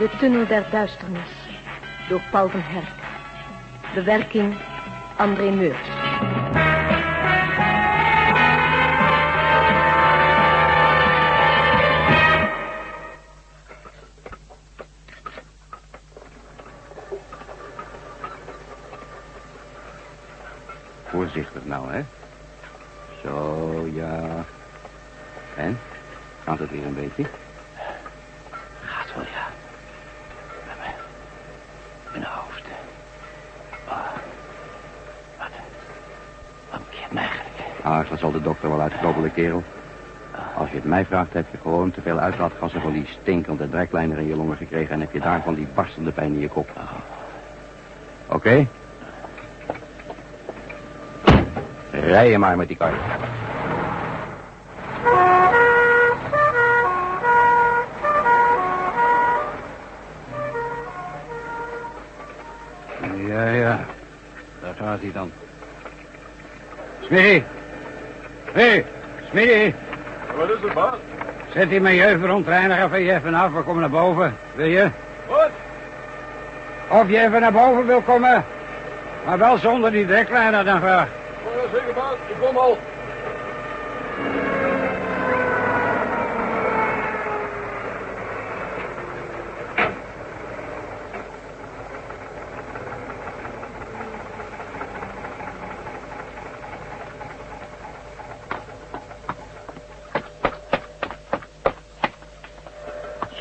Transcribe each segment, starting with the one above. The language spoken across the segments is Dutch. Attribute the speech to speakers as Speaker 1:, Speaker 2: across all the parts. Speaker 1: De Tunnel der Duisternis door Paul van Herk. Bewerking André Meurs.
Speaker 2: Voorzichtig nou, hè. Zo, ja. En? Gaat het weer een beetje?
Speaker 3: Gaat wel, ja. Met mijn, mijn hoofd. Ah, wat, wat bekeert mij eigenlijk? Ah.
Speaker 2: Ach, Ah, dat zal de dokter wel uitknobbelen, kerel. Als je het mij vraagt, heb je gewoon te veel uitlaatgassen van die stinkende dreklijner in je longen gekregen... en heb je daarvan die barstende pijn in je kop.
Speaker 3: Ah.
Speaker 2: Oké? Rij je maar met die kar. Ja, ja. Daar gaat hij dan. Smitty! Hé, Smitty!
Speaker 4: Wat is er, baas?
Speaker 2: Zet die milieu verontreiniger van je even af. We komen naar boven. Wil je?
Speaker 4: Wat?
Speaker 2: Of je even naar boven wil komen. Maar wel zonder die dreklijner dan graag.
Speaker 4: Ja, zeker, baas. Ik kom al.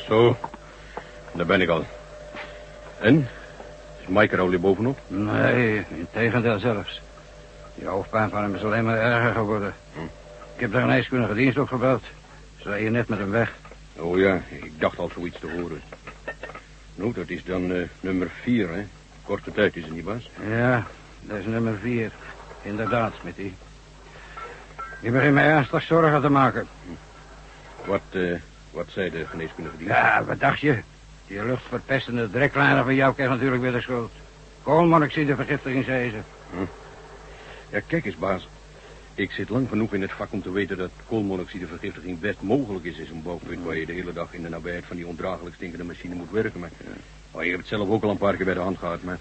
Speaker 5: Zo, daar ben ik al. En? Is Mike er al weer bovenop?
Speaker 2: Nee, integendeel zelfs. Die hoofdpijn van hem is alleen maar erger geworden. Ik heb de geneeskundige dienst opgebeld. Ze zijn hier net met hem weg.
Speaker 5: Oh ja, ik dacht al zoiets te horen. Nou, dat is dan eh, nummer vier, hè? Korte tijd is het niet, Bas?
Speaker 2: Ja, dat is nummer vier. Inderdaad, Smitty. Je begint mij ernstig zorgen te maken.
Speaker 5: Wat, eh, wat zei de geneeskundige dienst?
Speaker 2: Ja, wat dacht je? Die luchtverpestende dreklijner van jou krijgt natuurlijk weer de schuld. Koolmonoxide vergiftigingsrezen.
Speaker 5: Ja, kijk eens, baas. Ik zit lang genoeg in het vak om te weten dat koolmonoxidevergiftiging best mogelijk is in zo'n bouwpunt waar je de hele dag in de nabijheid van die ondraaglijk stinkende machine moet werken. Maar oh, je hebt het zelf ook al een paar keer bij de hand gehad, maar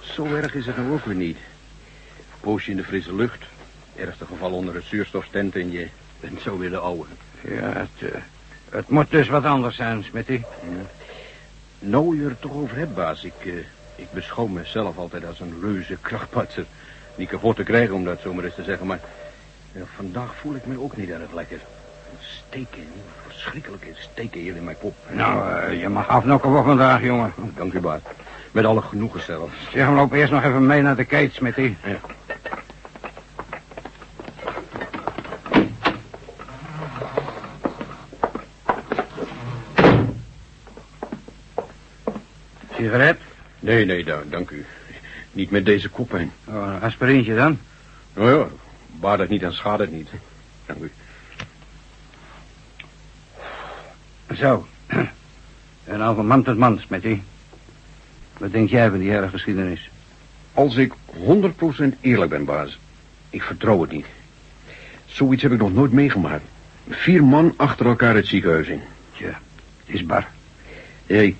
Speaker 5: zo erg is het nou ook weer niet. Een poosje in de frisse lucht, ergste geval onder het zuurstoftent en je bent zo weer de oude.
Speaker 2: Ja, het, eh, het moet dus wat anders zijn, Smitty.
Speaker 5: Nou, je er toch over hebt, baas. Ik, eh, ik beschouw mezelf altijd als een reuze krachtpatser. Niet kapot te krijgen, om dat zomaar eens te zeggen, maar... eh, vandaag voel ik me ook niet erg lekker. Steken, verschrikkelijke steken hier in mijn kop.
Speaker 2: Nou, eh, je mag afnokken voor vandaag, jongen.
Speaker 5: Dank u, baas. Met alle genoegen zelfs.
Speaker 2: Zeg, maar, loop eerst nog even mee naar de keet, Smitty.
Speaker 5: Ja.
Speaker 2: Sigaret?
Speaker 5: Nee, nee, da- dank u. Niet met deze koppijn.
Speaker 2: Oh, een aspirintje dan?
Speaker 5: Nou ja, baat het niet, dan schaadt het niet. Dank u.
Speaker 2: Zo. En al van man tot man, Smitty. Wat denk jij van die hele geschiedenis?
Speaker 5: Als ik 100% eerlijk ben, baas. Ik vertrouw het niet. Zoiets heb ik nog nooit meegemaakt. Vier man achter elkaar het ziekenhuis in.
Speaker 2: Tja, het is bar.
Speaker 5: Hey,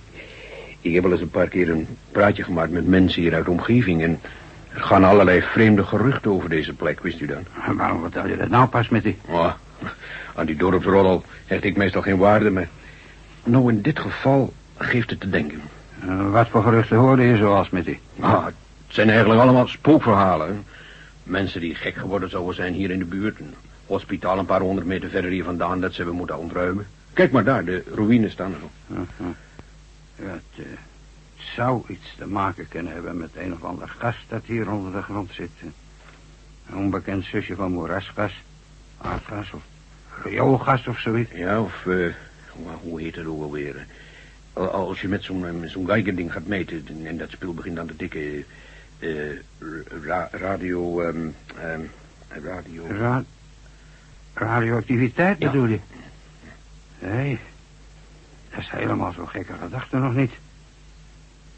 Speaker 5: ik heb wel eens een paar keer een praatje gemaakt met mensen hier uit de omgeving. En er gaan allerlei vreemde geruchten over deze plek, wist u dan?
Speaker 2: Maar Waarom vertel je dat nou pas, Smitty?
Speaker 5: Oh, aan die dorpsrollo hecht ik meestal geen waarde, maar... Nou, in dit geval geeft het te denken.
Speaker 2: Eh, wat voor geruchten hoorde je zoal, Smitty?
Speaker 5: Ah, het zijn eigenlijk allemaal spookverhalen. hè. Mensen die gek geworden zouden zijn hier in de buurt. Een hospitaal een paar honderd meter verder hier vandaan dat ze hebben moeten ontruimen. Kijk maar daar, de ruïnes staan er nog.
Speaker 2: Ja, het, eh, het zou iets te maken kunnen hebben met een of ander gas dat hier onder de grond zit. Een onbekend zusje van moerasgas, aardgas of rioolgas of zoiets.
Speaker 5: Ja, of eh, hoe- hoe heet het ook alweer? hè? Al- Als je met zo'n eh, zo'n Geiger-ding gaat meten en- en dat spul begint aan te tikken. eh, ra- radio. ehm, ehm, radio.
Speaker 2: Ra- radioactiviteit
Speaker 5: Ja.
Speaker 2: bedoel je? Nee, dat is helemaal zo'n gekke gedachte nog niet.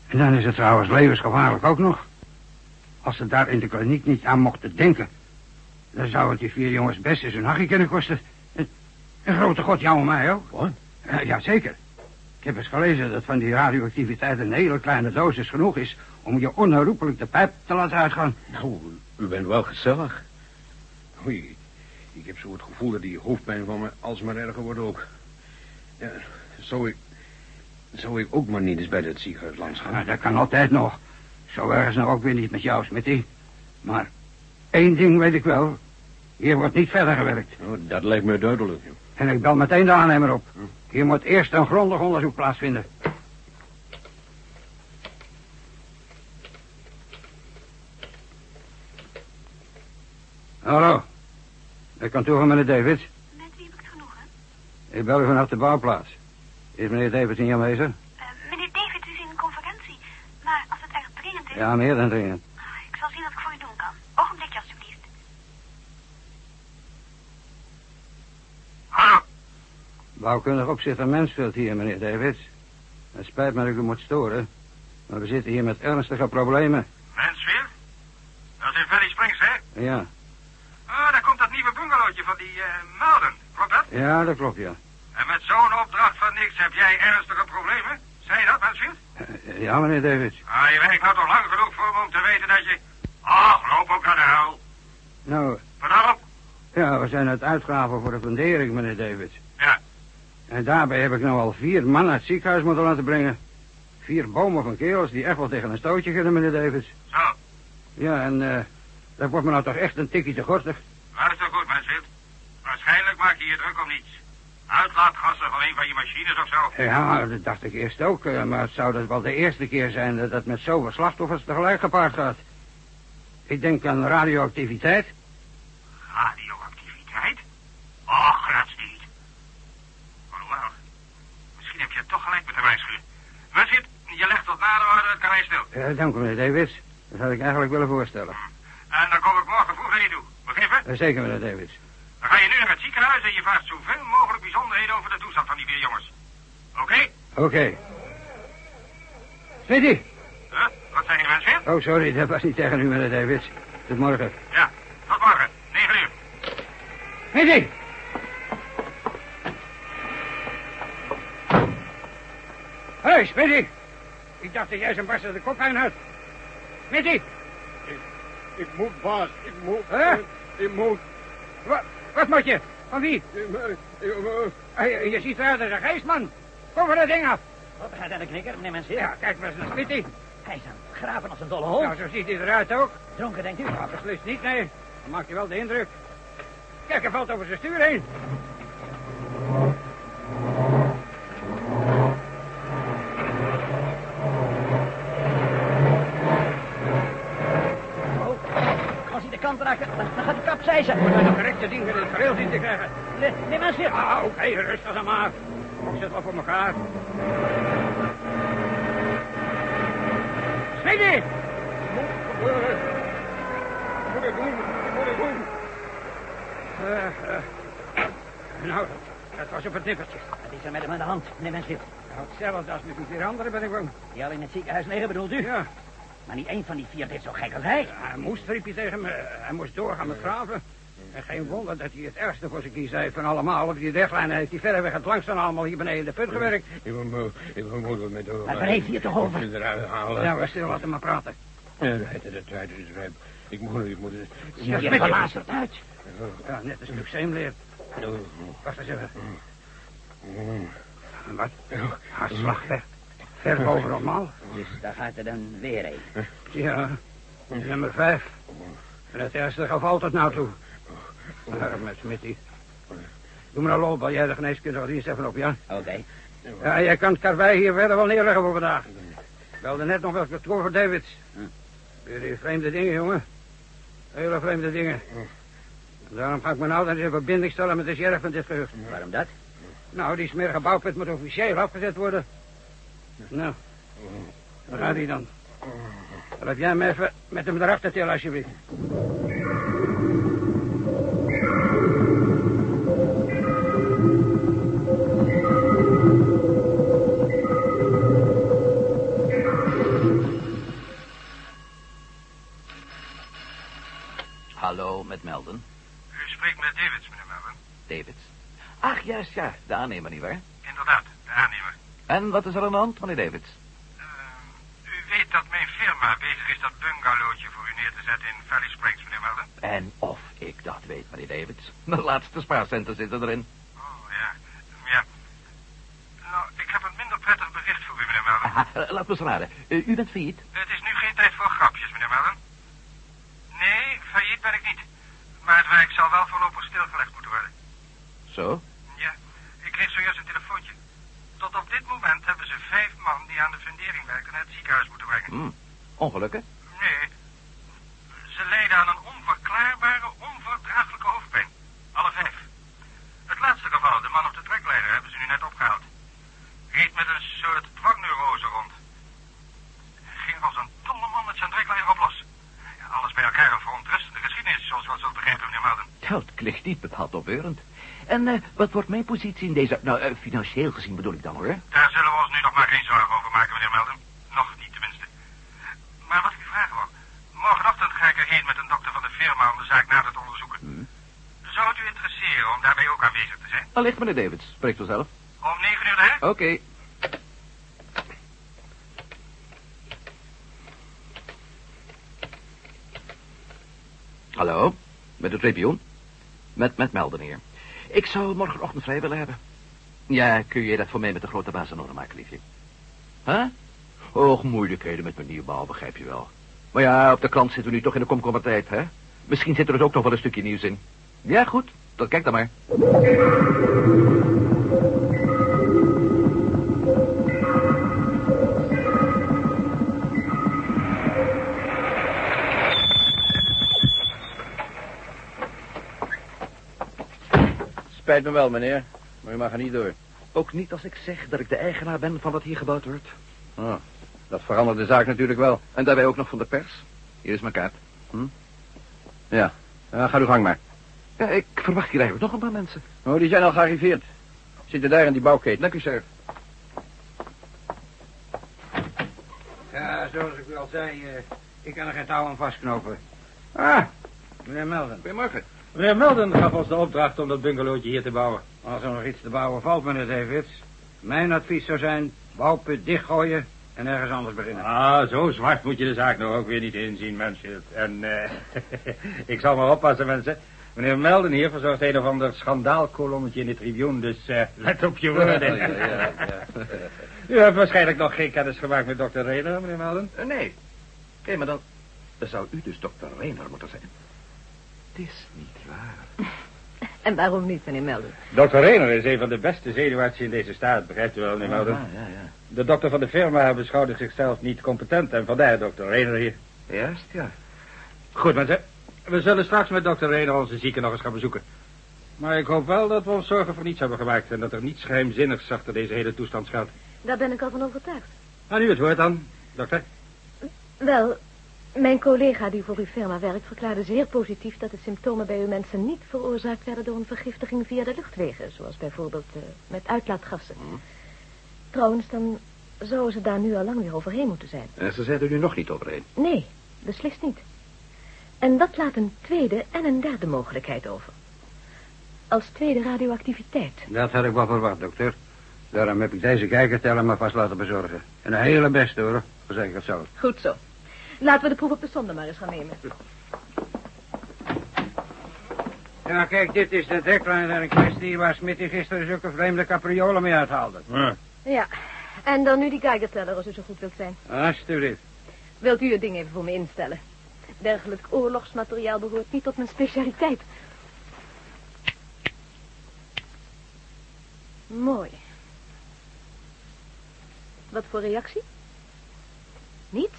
Speaker 2: En dan is het trouwens levensgevaarlijk ook nog. Als ze daar in de kliniek niet aan mochten denken... dan zou het die vier jongens best eens een hachje kunnen kosten. Een, een grote god, jou en mij ook.
Speaker 5: Wat?
Speaker 2: Ja, jazeker. Ik heb eens gelezen dat van die radioactiviteit een hele kleine dosis genoeg is... om je onherroepelijk de pijp te laten uitgaan.
Speaker 5: Nou, u bent wel gezellig. Oei, ik heb zo het gevoel dat die hoofdpijn van me alsmaar erger wordt ook. Ja, zou ik... Zou ik ook maar niet eens bij dat ziekenhuis langs gaan?
Speaker 2: Nou, dat kan altijd nog. Zo erg is nou ook weer niet met jou, Smitty. Maar één ding weet ik wel. Hier wordt niet verder gewerkt.
Speaker 5: Oh, dat lijkt me duidelijk. joh.
Speaker 2: En ik bel meteen de aannemer op. Hier moet eerst een grondig onderzoek plaatsvinden. Hallo. Ik kan toe van meneer David.
Speaker 6: Met wie heb ik het genoegen?
Speaker 2: Ik bel u vanaf de bouwplaats. Is meneer David niet aanwezig?
Speaker 6: Eh, meneer David is in een conferentie. Maar als het erg dringend is...
Speaker 2: Ja, meer dan dringend.
Speaker 6: Ah, Ik zal zien wat ik voor u doen kan. Ogenblikje alstublieft.
Speaker 2: Bouwkundig opzichter Mansfield hier, meneer David. Het spijt me dat ik u moet storen. Maar we zitten hier met ernstige problemen.
Speaker 7: Mansfield? Dat is in Valley Springs, hè?
Speaker 2: Ja,
Speaker 7: Ah, daar komt dat nieuwe bungalowtje van die eh Malden, klopt dat?
Speaker 2: ja, dat klopt, ja.
Speaker 7: En met zo'n opdracht van niks heb jij ernstige problemen? Zei je dat, Mansfield?
Speaker 2: Eh, Ja, meneer David.
Speaker 7: Ah, je werkt nou toch lang genoeg voor me om te weten dat je... Ach, loop ook naar de hel.
Speaker 2: Nou,
Speaker 7: Vanavond?
Speaker 2: ja, we zijn aan het uitgraven voor de fundering, meneer David.
Speaker 7: Ja.
Speaker 2: En daarbij heb ik nou al vier man naar het ziekenhuis moeten laten brengen. Vier bomen van kerels die echt wel tegen een stootje kunnen, meneer David.
Speaker 7: Zo,
Speaker 2: Ja, en eh, dat wordt me nou toch echt een tikkie te gortig.
Speaker 7: luister goed, Mansfield. Waarschijnlijk maak je je druk om niets. Uitlaatgassen van een van je machines of zo.
Speaker 2: Ja, dat dacht ik eerst ook. eh, maar het zou dus wel de eerste keer zijn dat dat met zoveel slachtoffers tegelijk gepaard gaat. Ik denk aan radioactiviteit.
Speaker 7: Radioactiviteit? Och, dat is niet. Alhoewel, misschien heb je toch gelijk met de waarschuwing. Wizard, je legt tot nader orde het karwei stil.
Speaker 2: Eh, dank u, meneer David. Dat had ik eigenlijk willen voorstellen.
Speaker 7: En dan kom ik morgen vroeg naar je toe. Begrepen?
Speaker 2: Eh, zeker, meneer David.
Speaker 7: Dan ga je nu naar het ziekenhuis en je vraagt zoveel mogelijk bijzonderheden over de toestand van die vier jongens. Oké?
Speaker 2: Oké. Smitty!
Speaker 7: Huh? Eh, Wat zijn je mensen?
Speaker 2: Oh, sorry, dat was niet tegen u, meneer Davids. Tot morgen.
Speaker 7: Ja, tot morgen. 9 uur.
Speaker 2: Smitty! Hé, hey, Smitty! Ik dacht dat jij zo'n barst de koppijn had. Smitty!
Speaker 4: Ik moet, baas. Ik moet.
Speaker 2: Hè?
Speaker 4: Ik, ik moet.
Speaker 2: Wat, wat moet je? Van wie?
Speaker 4: Ik, eh, ik, eh,
Speaker 2: Eh, je, je ziet eruit als een geestman. Kom van dat ding af.
Speaker 3: Wat gaat aan de knikker, meneer Mansfield?
Speaker 2: Ja, kijk maar eens naar Smitty.
Speaker 3: Hij is aan het graven als een dolle hond.
Speaker 2: Nou, zo ziet hij eruit ook.
Speaker 3: Dronken, denkt u?
Speaker 2: Nou, beslist niet, nee. Dan maakt hij wel de indruk. Kijk, hij valt over zijn stuur heen.
Speaker 3: Oh, als hij de kant raakt, dan, dan gaat hij kapseizen.
Speaker 2: Moet hij de correcte ding in het gareel zien te krijgen.
Speaker 3: Nee, meneer Mansfield.
Speaker 2: Ah, oké, rustig dan maar. Ik zet wel voor elkaar. Smitty!
Speaker 4: ik moet het doen. Ik moet het doen.
Speaker 2: Eh, eh. nou, dat was op het nippertje.
Speaker 3: Wat is er met hem aan de hand, meneer Mansfield?
Speaker 2: Nou, hetzelfde als met die vier anderen ben ik bang.
Speaker 3: Die al in het ziekenhuis liggen, bedoelt u?
Speaker 2: Ja,
Speaker 3: Maar niet één van die vier deed zo gek als hij.
Speaker 2: hij moest, riep hij tegen me. Hij moest doorgaan met graven. En geen wonder dat hij het ergste voor zijn kies heeft van allemaal. Op die deglijn heeft hij verreweg het langst van allemaal hier beneden de put gewerkt.
Speaker 5: Ik moet, ik moet wat met
Speaker 3: Maar waar heeft hij het toch over?
Speaker 5: Ik moet eruit halen.
Speaker 2: Nou, we stil, laten maar praten.
Speaker 5: Ja, dat dat tijd is rijp. dus Ik moet, ik moet... Ik moet
Speaker 3: Ziet er belazerd uit.
Speaker 2: Ja, net een stuk zeemleer. Wacht eens even. Wat? Haar slag ver. Ver boven normaal.
Speaker 3: Dus Daar gaat er dan weer een.
Speaker 2: Ja, nummer vijf. In het eerste geval tot nou toe. Arme Smitty. Doe me een lol, bel jij de geneeskundige dienst even op, ja?
Speaker 3: Oké.
Speaker 2: Ja, jij kan het karwei hier verder wel neerleggen voor vandaag. Ik Belde net nog wel kantoor voor Davids. Weer die vreemde dingen, jongen. Hele vreemde dingen. Daarom ga ik me nou dan eens in verbinding stellen met de sheriff van dit gehucht.
Speaker 3: Waarom dat?
Speaker 2: Nou, die smerige bouwput moet officieel afgezet worden. Nou, waar gaat hij dan? Laat jij hem even met hem erachter tillen, alsjeblieft.
Speaker 3: Hallo, met Melden.
Speaker 7: U spreekt met Davids, meneer Melvin.
Speaker 3: Davids. Ach, juist, ja. De aannemer, nietwaar?
Speaker 7: Inderdaad, de aannemer.
Speaker 8: En wat is er aan de hand, meneer Davids?
Speaker 7: u weet dat mijn firma bezig is dat bungalowtje voor u neer te zetten in Valley Springs, meneer Melden.
Speaker 8: En of ik dat weet, meneer Davids. De laatste spaarcenten zitten erin.
Speaker 7: Oh, ja. Ja. Nou, ik heb een minder prettig bericht voor u, meneer Melden.
Speaker 8: Aha, eh, laat me eens raden. Eh, u bent failliet?
Speaker 7: Het is nu geen tijd voor grapjes, meneer Mellon. Nee, failliet ben ik niet. Maar het werk zal wel voorlopig stilgelegd moeten worden.
Speaker 8: Zo?
Speaker 7: Ja, ik kreeg zojuist een telefoontje. Tot op dit moment hebben ze vijf man die aan de fundering werken naar het ziekenhuis moeten brengen.
Speaker 8: Hm. Ongelukken?
Speaker 7: Nee, ze lijden aan een onverklaarbare, onverdraaglijke hoofdpijn. Alle vijf. Het laatste geval, de man op de trekleider, hebben ze nu net opgehaald. Reed met een soort dwangneurose rond. Ging als een dolle man met zijn trekleider op los. Ja, alles bij elkaar een verontrustende geschiedenis, zoals we al zo begrepen, meneer Melden.
Speaker 8: Dat klinkt niet bepaald opbeurend. En eh, wat wordt mijn positie in deze... Nou, eh, financieel gezien bedoel ik dan, hoor.
Speaker 7: Daar zullen we ons nu nog maar geen zorgen over maken, meneer Melden. Nog niet, tenminste. Maar wat ik u vragen wou. Morgenochtend ga ik erheen met een dokter van de firma om de zaak nader te onderzoeken. Zou het u interesseren om daarbij ook aanwezig te zijn?
Speaker 8: Allicht, meneer Davids. Spreekt vanzelf.
Speaker 7: Om negen uur, hè?
Speaker 8: Oké. Hallo, met de Tribune. Met, met Melden hier. Ik zou morgenochtend vrij willen hebben. Ja, kun je dat voor mij met de grote baas in orde maken, liefje? Huh? Och, moeilijkheden met mijn nieuwbouw, begrijp je wel. Maar ja, op de krant zitten we nu toch in de komkommertijd, hè? Misschien zit er dus ook nog wel een stukje nieuws in. Ja, goed. Dan kijk dan maar.
Speaker 5: Spijt me wel, meneer. Maar u mag er niet door.
Speaker 8: Ook niet als ik zeg dat ik de eigenaar ben van wat hier gebouwd wordt.
Speaker 5: Dat verandert de zaak natuurlijk wel.
Speaker 8: En daarbij ook nog van de pers. Hier is mijn kaart.
Speaker 5: Ja, ga uw gang maar.
Speaker 8: Ja, ik verwacht hier eigenlijk nog een paar mensen.
Speaker 5: Oh, die zijn al gearriveerd. Zitten daar in die bouwketen. Dank u, sir.
Speaker 2: Ja, zoals ik u al zei, eh, ik kan er geen touw aan vastknopen. Ah, meneer Melden.
Speaker 5: Goedemorgen.
Speaker 4: Meneer Melden gaf ons de opdracht om dat bungalowtje hier te bouwen.
Speaker 2: Als er nog iets te bouwen valt, meneer Davids... mijn advies zou zijn, bouwput dichtgooien en ergens anders beginnen.
Speaker 4: Ah, zo zwart moet je de zaak nou ook weer niet inzien, mensen. En eh, ik zal maar oppassen, mensen. Meneer Melden hier verzorgt een of ander schandaalkolommetje in de Tribune, dus eh, let op je woorden. U hebt waarschijnlijk nog geen kennis gemaakt met dokter Reder, meneer Melden.
Speaker 8: Eh, nee. Oké, maar dan... Dan zou u dus dokter Reiner moeten zijn. Het is niet waar.
Speaker 1: En waarom niet, meneer Melden?
Speaker 4: Dokter Reder is een van de beste zenuwartsen in deze staat, begrijpt u wel, meneer Melden?
Speaker 8: ja, ja, ja.
Speaker 4: De dokter van de firma beschouwde zichzelf niet competent en vandaar dokter Reder hier.
Speaker 8: Juist, ja.
Speaker 4: Goed, mensen. We zullen straks met dokter Reder onze zieken nog eens gaan bezoeken. Maar ik hoop wel dat we ons zorgen voor niets hebben gemaakt... en dat er niets geheimzinnigs achter deze hele toestand schuilt.
Speaker 1: Daar ben ik al van overtuigd.
Speaker 4: Nou, nu het woord dan, dokter.
Speaker 1: Wel, mijn collega die voor uw firma werkt verklaarde zeer positief dat de symptomen bij uw mensen niet veroorzaakt werden door een vergiftiging via de luchtwegen, zoals bijvoorbeeld eh, met uitlaatgassen.
Speaker 8: Mhm.
Speaker 1: Trouwens, dan zouden ze daar nu al lang weer overheen moeten zijn.
Speaker 8: En Eh, ze zijn er nu nog niet overheen.
Speaker 1: Nee, beslist niet. En dat laat een tweede en een derde mogelijkheid over. Als tweede radioactiviteit.
Speaker 2: Dat had ik wel verwacht, dokter. Daarom heb ik deze kijkerteller maar vast laten bezorgen. En de hele beste, hoor. Verzekerd zo.
Speaker 1: Goed zo. Laten we de proef op de zonde maar eens gaan nemen.
Speaker 2: Ja, kijk, dit is de dekliner in kwestie waar Smitty gisteren zulke vreemde capriolen mee uithaalde.
Speaker 1: Ja, en dan nu die geigerteller als u zo goed wilt zijn.
Speaker 2: Alsjeblieft.
Speaker 1: Wilt u het ding even voor me instellen? Dergelijk oorlogsmateriaal behoort niet tot mijn specialiteit. Mooi. Wat voor reactie? Niets?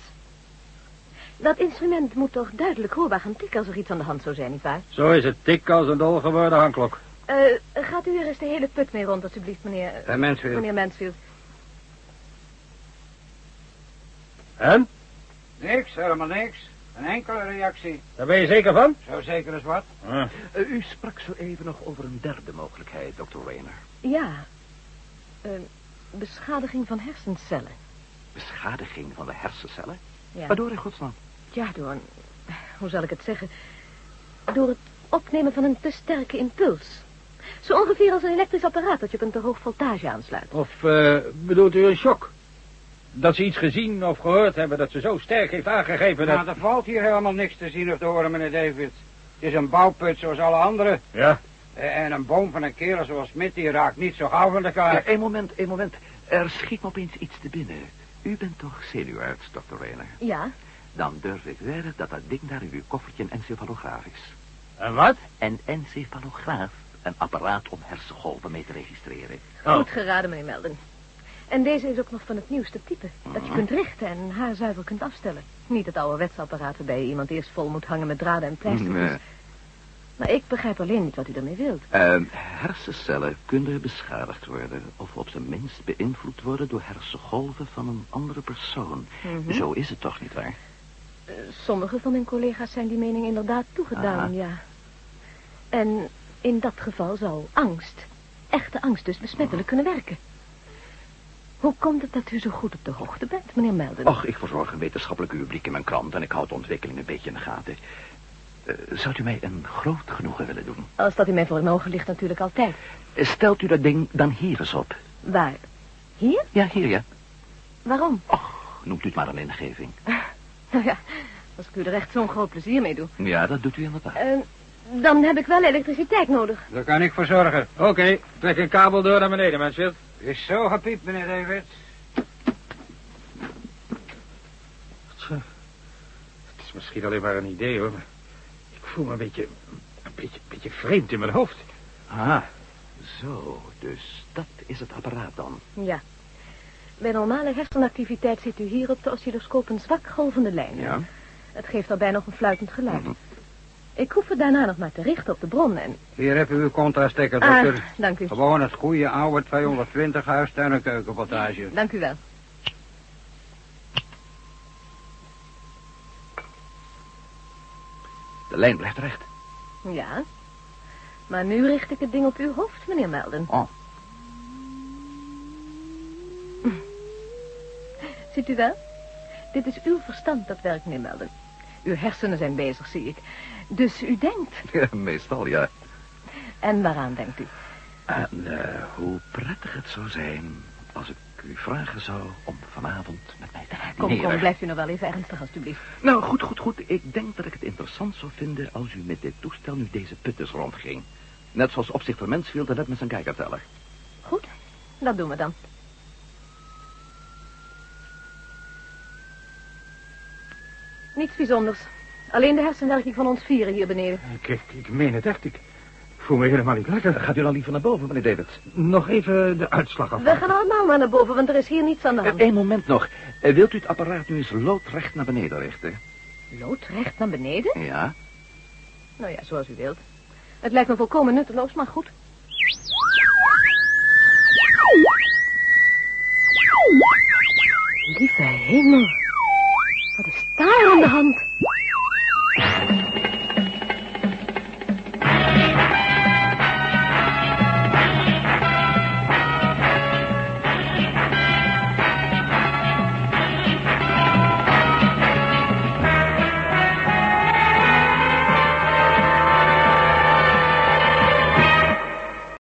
Speaker 1: Dat instrument moet toch duidelijk hoorbaar gaan tikken als er iets aan de hand zou zijn, nietwaar?
Speaker 4: Zo is het tik als een dol geworden hangklok.
Speaker 1: Eh gaat u er eens de hele put mee rond, alstublieft, meneer... eh,
Speaker 2: En mensen,
Speaker 1: meneer Mansfield.
Speaker 4: En?
Speaker 2: Niks, helemaal niks. Een enkele reactie.
Speaker 4: Daar ben je zeker van?
Speaker 2: Zo zeker als wat.
Speaker 8: Eh, u sprak zo even nog over een derde mogelijkheid, dokter Reiner.
Speaker 1: Ja. Eh, beschadiging van hersencellen.
Speaker 8: Beschadiging van de hersencellen?
Speaker 1: Ja.
Speaker 8: Waardoor in godsnaam?
Speaker 1: Ja, door een... Hoe zal ik het zeggen? Door het opnemen van een te sterke impuls. Zo ongeveer als een elektrisch apparaat dat je kunt een hoog voltage aansluit.
Speaker 4: Of eh, bedoelt u een shock? Dat ze iets gezien of gehoord hebben dat ze zo sterk heeft aangegeven dat...
Speaker 2: Nou, er valt hier helemaal niks te zien of te horen, meneer David. Het is een bouwput zoals alle anderen. Eh,
Speaker 4: Ja,
Speaker 2: En een boom van een kerel zoals Smit, die raakt niet zo gauw van elkaar.
Speaker 8: Eén Eh, moment, één moment. Er schiet me opeens iets te binnen. U bent toch zenuwarts, dokter Rayner?
Speaker 1: Ja,
Speaker 8: Dan durf ik wedden dat dat ding daar in uw koffertje een encefalograaf is.
Speaker 4: en wat?
Speaker 8: Een encefalograaf, een apparaat om hersengolven mee te registreren.
Speaker 4: Oh.
Speaker 1: goed geraden, meneer Melden. En deze is ook nog van het nieuwste type.
Speaker 8: Mm.
Speaker 1: Dat je kunt richten en haarzuiver kunt afstellen. Niet het ouderwetse apparaat waarbij je iemand eerst vol moet hangen met draden en pleisters.
Speaker 8: Nee.
Speaker 1: Maar ik begrijp alleen niet wat u daarmee wilt.
Speaker 8: Eh, hersencellen kunnen beschadigd worden of op zijn minst beïnvloed worden door hersengolven van een andere persoon.
Speaker 1: Mhm.
Speaker 8: Zo is het toch niet waar?
Speaker 1: Eh, Sommige van mijn collega's zijn die mening inderdaad toegedaan,
Speaker 8: Aha.
Speaker 1: ja. En in dat geval zou angst, echte angst dus, besmettelijk kunnen werken. Hoe komt het dat u zo goed op de hoogte bent, meneer Melden?
Speaker 8: Och, ik verzorg een wetenschappelijke rubriek in mijn krant en ik houd de ontwikkeling een beetje in de gaten. Eh, zou u mij een groot genoegen willen doen?
Speaker 1: Als dat in mijn voor mijn ogen ligt natuurlijk altijd.
Speaker 8: Stelt u dat ding dan hier eens op?
Speaker 1: Waar? Hier?
Speaker 8: Ja, hier ja.
Speaker 1: Waarom?
Speaker 8: Och, noemt u het maar een ingeving.
Speaker 1: Nou ja, als ik u er echt zo'n groot plezier mee doe.
Speaker 8: Ja, dat doet u inderdaad.
Speaker 1: Eh, dan heb ik wel elektriciteit nodig.
Speaker 2: Daar kan ik voor zorgen.
Speaker 4: Oké, trek een kabel door naar beneden, Mansfield.
Speaker 2: Is zo gepiept, meneer David.
Speaker 4: Het is misschien alleen maar een idee, hoor. maar Ik voel me een beetje... Een beetje, beetje vreemd in mijn hoofd.
Speaker 8: Ah, zo, dus dat is het apparaat dan.
Speaker 1: Ja. Bij normale hersenactiviteit ziet u hier op de oscilloscoop een zwak golvende lijn.
Speaker 8: Ja.
Speaker 1: Het geeft daarbij nog een fluitend geluid. Ik hoef het daarna nog maar te richten op de bron en...
Speaker 2: Hier heb u uw contrastekker,
Speaker 1: Ah,
Speaker 2: dokter.
Speaker 1: dank u.
Speaker 2: Gewoon het goede oude 220 huistuin- en keukenplantage.
Speaker 1: Dank u wel.
Speaker 8: De lijn blijft recht.
Speaker 1: Ja. Maar nu richt ik het ding op uw hoofd, meneer Melden.
Speaker 8: Oh.
Speaker 1: Ziet u wel? Dit is uw verstand dat werkt, meneer Melden. Uw hersenen zijn bezig, zie ik. Dus u denkt.
Speaker 8: Ja, meestal, ja.
Speaker 1: En waaraan denkt u?
Speaker 8: En eh, hoe prettig het zou zijn als ik u vragen zou om vanavond met mij te gaan
Speaker 1: Kom,
Speaker 8: dineren.
Speaker 1: kom, blijft u nou wel even ernstig, alstublieft.
Speaker 8: Nou, goed, goed, goed. Ik denk dat ik het interessant zou vinden als u met dit toestel nu deze putters rondging. Net zoals opzichter Mansfield en net met zijn kijkerteller.
Speaker 1: Goed, dat doen we dan. Niets bijzonders. Alleen de hersenwerking van ons vieren hier beneden.
Speaker 4: Ik, ik, ik meen het echt. Ik voel me helemaal niet lekker.
Speaker 8: Gaat u dan liever naar boven, meneer Davids?
Speaker 4: Nog even de uitslag af.
Speaker 1: We gaan allemaal maar naar boven, want er is hier niets aan de hand.
Speaker 8: Eén moment nog. Eh, Wilt u het apparaat nu eens loodrecht naar beneden richten?
Speaker 1: Loodrecht naar beneden?
Speaker 8: Ja.
Speaker 1: Nou ja, zoals u wilt. Het lijkt me volkomen nutteloos, maar goed. Lieve hemel. Wat is daar aan de hand?